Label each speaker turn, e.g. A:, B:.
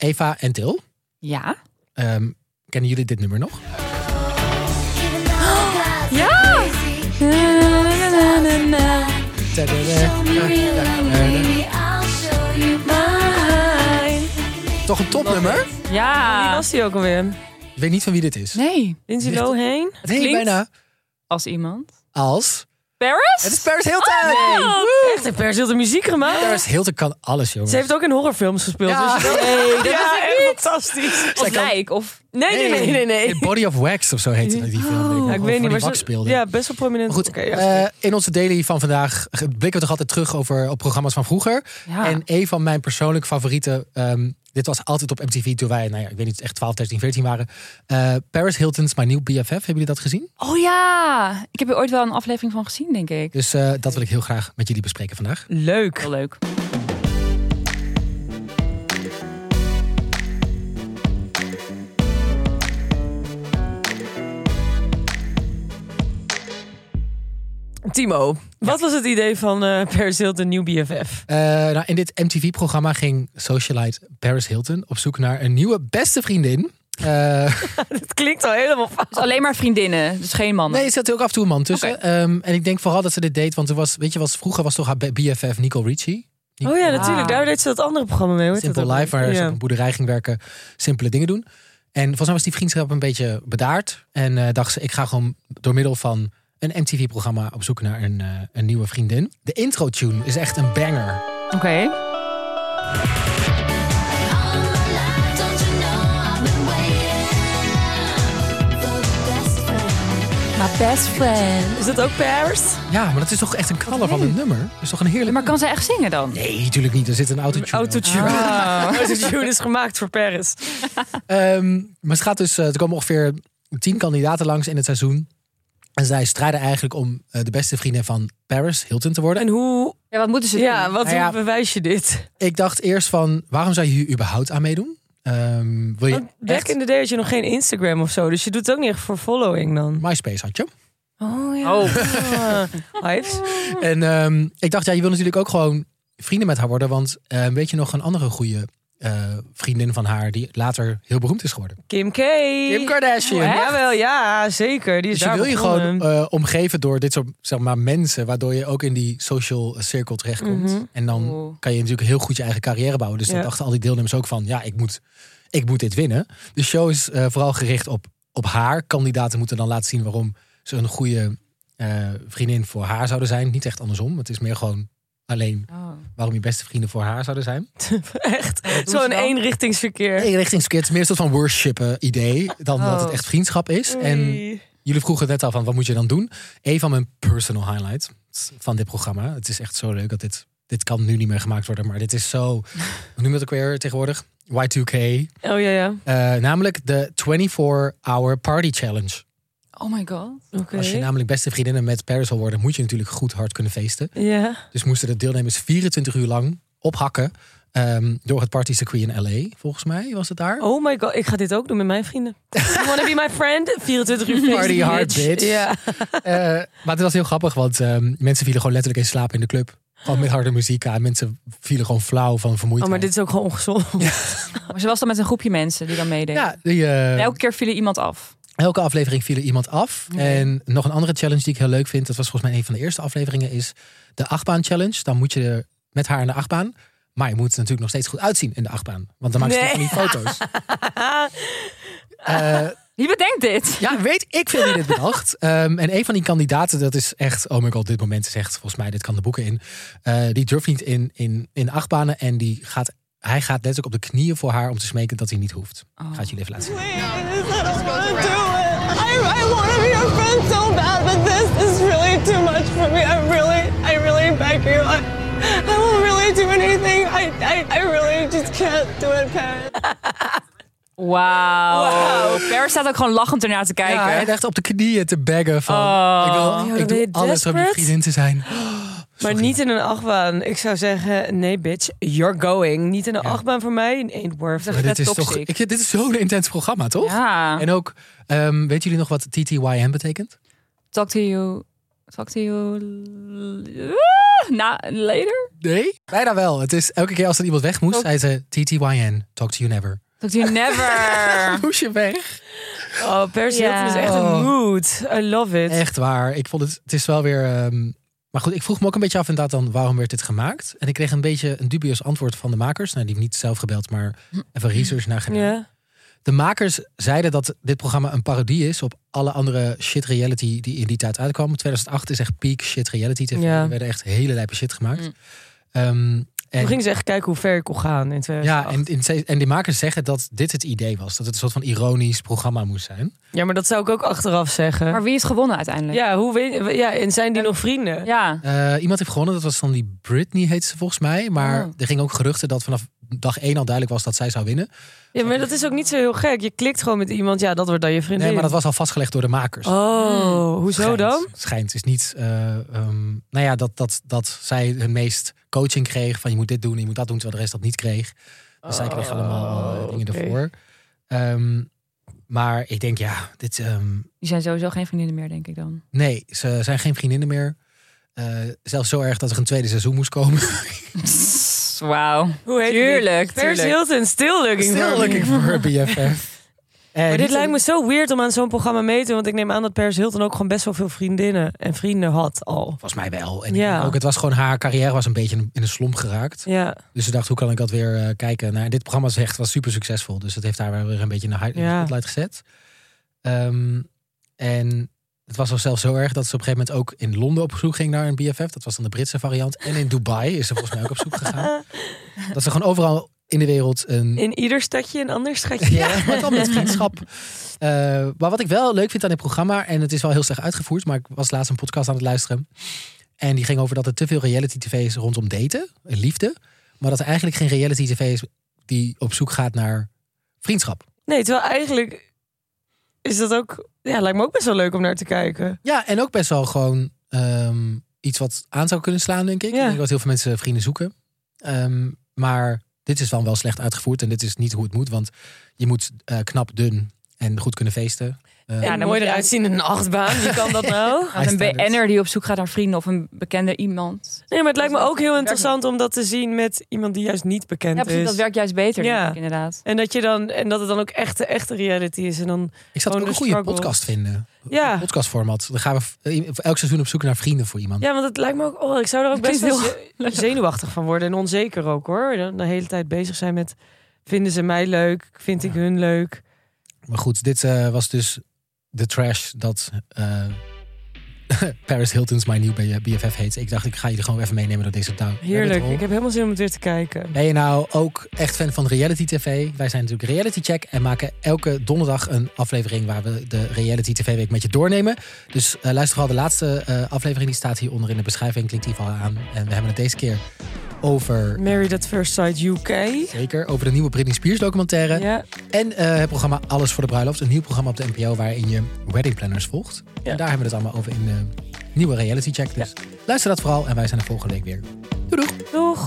A: Eva en Til,
B: Ja.
A: ehm, kennen jullie dit nummer nog?
B: Ja!
A: Toch een topnummer?
C: Wie
B: Ja.
C: Oh, was die ook alweer?
A: Ik weet niet van wie dit is.
B: Nee.
C: Lindsay
A: Ligt-
C: Lohan?
A: nee
B: klinkt-
A: bijna.
B: Als iemand.
A: Als.
C: Paris?
A: Het is Paris Hilton!
C: Oh, Echt, heeft Paris heel de muziek gemaakt.
A: Paris Hilton kan alles, jongens.
C: Ze heeft ook in horrorfilms gespeeld.
A: Ja.
C: Dus nee, dat is echt fantastisch.
B: Of lijk. Of...
C: Nee, nee, nee, nee. nee.
A: In Body of Wax of zo heette dat die film. denk ik.
C: Ja,
A: Gewoon
C: ik weet
A: van
C: niet,
A: die
C: maar
A: wax
C: ze-
A: speelde.
C: Ja, best wel prominent.
A: Maar goed,
C: Oké, ja.
A: eh, in onze daily van vandaag blikken we toch altijd terug over, op programma's van vroeger.
B: Ja.
A: En een van mijn persoonlijke favorieten, ehm, dit was altijd op MTV toen wij, nou ja, ik weet niet, echt 12, 13, 14 waren. Eh, Paris Hilton's My New BFF, hebben jullie dat gezien?
B: Oh ja. Ik heb er ooit wel een aflevering van gezien, denk ik.
A: Dus eh, dat wil ik heel graag met jullie bespreken vandaag.
C: Leuk.
B: Heel leuk.
C: Timo, wat was het idee van eh Paris Hilton New BFF?
A: Eh, nou, in dit MTV-programma ging socialite Paris Hilton op zoek naar een nieuwe beste vriendin. Eh,
C: Het klinkt al helemaal fout.
B: Dus alleen maar vriendinnen, dus geen mannen.
A: nee, er zat ook af en toe een man tussen. Ehm, en ik denk vooral dat ze dit deed, want er was, weet je, was, vroeger was toch haar BFF Nicole Richie.
C: Oh ja,
B: Ah.
C: natuurlijk. Daar deed ze dat andere programma mee. hoor.
A: Simple Life, waar ze
C: ja.
A: op een boerderij ging werken, simpele dingen doen. En volgens mij was die vriendschap een beetje bedaard. En eh, dacht ze, ik ga gewoon door middel van een MTV-programma op zoek naar een, eh, een nieuwe vriendin. De intro-tune is echt een banger.
B: Oké. My best friend.
C: Is dat ook Paris?
A: Ja, maar dat is toch echt een knaller van een nummer? Dat is toch een heerlijk...
B: Maar kan zij echt zingen dan?
A: Nee, natuurlijk niet. Er zit een autotune.
C: Autotune.
A: Ah.
C: Autotune is gemaakt voor Paris.
A: Ehm, maar het gaat dus, eh, er komen ongeveer tien kandidaten langs in het seizoen. En zij strijden eigenlijk om eh, de beste vriendin van Paris, Hilton, te worden.
C: En hoe,
B: Ja, wat moeten ze
C: ja,
B: doen?
C: wat
A: Nou ja.
C: hoe bewijs je dit?
A: Ik dacht eerst van, waarom zou je hier überhaupt aan meedoen? Ehm, wil je
C: Want Back
A: echt
C: Oh, in the day had je nog geen Instagram of zo, dus je doet het ook niet echt voor following dan.
A: MySpace had je?
C: Oh ja. Oh. Hives.
A: En ehm, ik dacht, ja, je wil natuurlijk ook gewoon vrienden met haar worden. Want eh, weet je nog een andere goede eh, vriendin van haar... die later heel beroemd is geworden?
C: Kim K.
A: Kim Kardashian.
C: Ja, Jawel, ja, zeker. Die is
A: Dus je
C: daar
A: wil je
C: begonnen.
A: gewoon eh, omgeven door dit soort zeg maar, mensen... waardoor je ook in die social eh, circle terechtkomt.
C: Mhm.
A: En dan
B: Oeh.
A: kan je natuurlijk heel goed je eigen carrière bouwen. Dus dat
C: Ja.
A: dachten al die deelnemers ook van... ja, ik moet, ik moet dit winnen. De show is eh, vooral gericht op, op haar. Kandidaten moeten dan laten zien waarom ze een goede eh, vriendin voor haar zouden zijn. Niet echt andersom. Het is meer gewoon alleen
B: Oh.
A: waarom je beste vrienden voor haar zouden zijn. Oh.
C: Echt,
B: ze
C: zo'n
B: dan?
C: eenrichtingsverkeer.
A: Nee, richting skits. Meer een soort van worshipen idee dan dat het
B: Oh.
A: echt vriendschap is. En
C: Oei.
A: jullie vroegen net al van wat moet je dan doen? Een van mijn personal highlights van dit programma. Het is echt zo leuk dat dit... Dit kan nu niet meer gemaakt worden, maar dit is zo... Hoe noem je dat ook weer tegenwoordig? Y2K.
C: Oh ja, ja.
A: Eh, namelijk de 24-hour party challenge.
B: Oh my god.
C: Oké.
A: Als je namelijk beste vriendinnen met Paris wil worden, moet je natuurlijk goed hard kunnen feesten.
C: Ja.
A: Dus moesten de deelnemers 24 uur lang ophakken ehm, door het partycircuit in LA. Volgens mij was het daar.
C: Oh my god, ik ga dit ook doen met mijn vrienden. You wanna be my friend? 24 uur feest,
A: Party hard, bitch.
C: Ja.
A: Eh, maar het was heel grappig, want ehm, mensen vielen gewoon letterlijk in slaap in de club. Gewoon met harde muziek aan. Mensen vielen gewoon flauw van
C: Oh,
A: vermoeidheid.
C: maar dit is ook gewoon ongezond.
B: Maar ze was dan met een groepje mensen die dan meedeed.
A: ja, die, eh,
B: En Elke keer viel er iemand af.
A: elke aflevering viel er iemand af. En nog een andere challenge die ik heel leuk vind, dat was volgens mij een van de eerste afleveringen, is de achtbaan challenge. Dan moet je met haar in de achtbaan. Maar je moet er natuurlijk nog steeds goed uitzien in de achtbaan. Want dan maak je
C: Nee.
A: van die foto's. Eh,
B: Wie bedenkt dit?
A: ja, weet ik veel wie dit bedacht. Ehm, en een van die kandidaten, dat is echt... Oh my god, dit moment is echt... Volgens mij, dit kan de boeken in. Eh, die durft niet in, in, in achtbanen. En die gaat, hij gaat letterlijk op de knieën voor haar om te smeken dat hij niet hoeft. Gaat jullie even laten zien.
D: I don't want to do it. I, I want to be your friend so bad, but this is really too much for me. I really, I really beg you. I, I will really do anything. I, I, I really just can't do it, Paris.
B: Wauw. Per staat ook gewoon lachend ernaar te kijken.
A: Ja, hij echt op de knieën te baggen van... ik wil, ik
C: ben
A: doe
C: je
A: alles om je Oh,
C: desperate?
A: vriendin te zijn.
C: Maar niet in een achtbaan. Ik zou zeggen, nee bitch, you're going. Niet in een achtbaan voor mij. Ain't worth it.
A: Maar dit
B: Net
A: is toch...
B: toxic.
A: Ik, dit is zo'n intens programma, toch?
B: Ja.
A: En ook, ehm weten jullie nog wat TTYM betekent?
B: Talk to you. Talk to you l- na, later?
A: Nee? Oh. Bijna wel. Het is elke keer als er iemand weg moest, zei ze TTYN, talk to you never.
B: Talk to you never.
A: Moest je weg?
C: Oh, Paris
B: Ja.
C: Hilton is echt een
A: Oh.
C: mood. I love it.
A: Echt waar. Ik vond het, het is wel weer... ehm, maar goed, ik vroeg me ook een beetje af inderdaad dan, waarom werd dit gemaakt? En ik kreeg een beetje een dubieus antwoord van de makers. Nou, die hebben niet zelf gebeld, maar even research naar gedaan.
C: Ja.
A: De makers zeiden dat dit programma een parodie is op alle andere shit reality die in die tijd uitkwam. 2008 is echt peak shit reality tv.
C: Ja.
A: Er werden echt hele lijpe shit gemaakt.
B: Mm.
A: Ehm, en,
C: Toen ging ze echt kijken hoe ver ik kon gaan in
A: ja,
C: 2008.
A: en, in ze- en die makers zeggen dat dit het idee was. Dat het een soort van ironisch programma moest zijn.
C: Ja, maar dat zou ik ook achteraf zeggen.
B: maar wie is gewonnen uiteindelijk?
C: ja, hoe weet, ja, en zijn die nog vrienden?
B: Ja.
A: Eh, iemand heeft gewonnen, dat was dan die Britney heet ze volgens mij. Maar
B: Oh.
A: er gingen ook geruchten dat vanaf dag één al duidelijk was dat zij zou winnen.
C: Ja, maar dat is ook niet zo heel gek. Je klikt gewoon met iemand, ja, dat wordt dan je vriendin.
A: Nee, maar dat was Hmm. al vastgelegd door de makers.
C: Oh, hoezo
A: Schijnt.
C: dan?
A: Schijnt is niet. eh, ehm, nou ja, dat, dat, dat zij hun meest coaching kreeg. Van je moet dit doen, je moet dat doen. Terwijl de rest dat niet kreeg. Dus zij kreeg allemaal eh,
C: Oh,
A: dingen
C: oké.
A: ervoor. Ehm, maar ik denk, ja, dit. ehm,
B: Die zijn sowieso geen vriendinnen meer, denk ik dan.
A: nee, ze zijn geen vriendinnen meer. Eh, zelfs zo erg dat er een tweede seizoen moest komen.
B: Wauw.
C: Hoe heet
B: Tuurlijk,
C: het? Paris
B: tuurlijk.
C: Hilton, still looking for
A: Stil
C: me.
A: looking voor BFF. En
C: Maar dit
A: niet-
C: lijkt me zo weird om aan zo'n programma mee te doen. Want ik neem aan dat Paris Hilton ook gewoon best wel veel vriendinnen en vrienden had al.
A: Volgens mij wel. En
C: Ja.
A: ja. ook, het was gewoon haar carrière was een beetje in een slomp geraakt.
C: Ja,
A: Dus ze dacht, hoe kan ik dat weer eh, kijken? Nou, dit programma is echt, was super succesvol. Dus dat heeft haar wel weer een beetje in de, hi- in de
C: Ja.
A: spotlight gezet. Ehm, en het was al zelfs zo erg dat ze op een gegeven moment ook in Londen op zoek ging naar een BFF. Dat was dan de Britse variant. En in Dubai is ze volgens mij ook op zoek gegaan. Dat ze gewoon overal in de wereld een...
C: in ieder stadje een ander stadje.
A: Ja, maar dan met vriendschap. Eh, maar wat ik wel leuk vind aan dit programma, en het is wel heel slecht uitgevoerd, maar ik was laatst een podcast aan het luisteren. En die ging over dat er te veel reality tv is rondom daten, en liefde. Maar dat er eigenlijk geen reality tv is die op zoek gaat naar vriendschap.
C: Nee, terwijl eigenlijk is dat ook... Ja, lijkt me ook best wel leuk om naar te kijken.
A: Ja, en ook best wel gewoon ehm, iets wat aan zou kunnen slaan, denk ik.
C: Ja.
A: Ik denk dat heel veel mensen vrienden zoeken. Ehm, maar dit is dan wel slecht uitgevoerd en dit is niet hoe het moet. Want je moet eh, knap, dun en goed kunnen feesten. Eh,
C: Ja,
B: dan
C: mooi
B: moet je-
C: eruit zien in een achtbaan. Wie kan dat nou?
B: Als een
A: standards.
B: BN'er die op zoek gaat naar vrienden of een bekende iemand.
C: Nee, maar het lijkt me ook heel interessant om dat te zien met iemand die juist niet bekend
B: Ja, precies.
C: is.
B: Dat werkt juist beter,
C: Ja.
B: denk ik, inderdaad.
C: En dat, je dan, en dat het dan ook echt de echte reality is. En dan,
A: Ik zat ook
C: Gewoon
A: een
C: Oh, de
A: goede
C: struggle.
A: podcast vinden.
C: Ja.
A: Een Podcastformat. Dan gaan we v- eh, voor elk seizoen op zoek naar vrienden voor iemand.
C: ja, want het lijkt me ook... Oh, ik zou er ook
B: Het
C: best wel
B: klinkt
C: ze- zenuwachtig van worden. En onzeker ook, hoor. Dan de hele tijd bezig zijn met... Vinden ze mij leuk? Vind ik
A: Ja.
C: hun leuk?
A: Maar goed, dit eh, was dus de trash dat eh, Paris Hilton's My New B- BFF heet. Ik dacht, ik ga jullie gewoon even meenemen door deze touw.
C: Heerlijk.
A: rabbit
C: Ik
A: hole.
C: heb helemaal zin om het weer te kijken.
A: Ben je nou ook echt fan van reality tv? Wij zijn natuurlijk Reality Check en maken elke donderdag een aflevering waar we de reality tv week met je doornemen. Dus eh, luister vooral de laatste eh, aflevering, die staat hieronder in de beschrijving. Klik die vooral aan. En we hebben het deze keer over,
C: Married at First Sight UK.
A: zeker, over de nieuwe Britney Spears documentaire.
C: Ja.
A: En eh, het programma Alles voor de Bruiloft. Een nieuw programma op de NPO waarin je wedding planners volgt.
C: Ja.
A: En daar hebben we het allemaal over in de nieuwe reality check. Dus luister dat vooral en wij zijn er volgende week weer. Doei doei!
C: Doeg.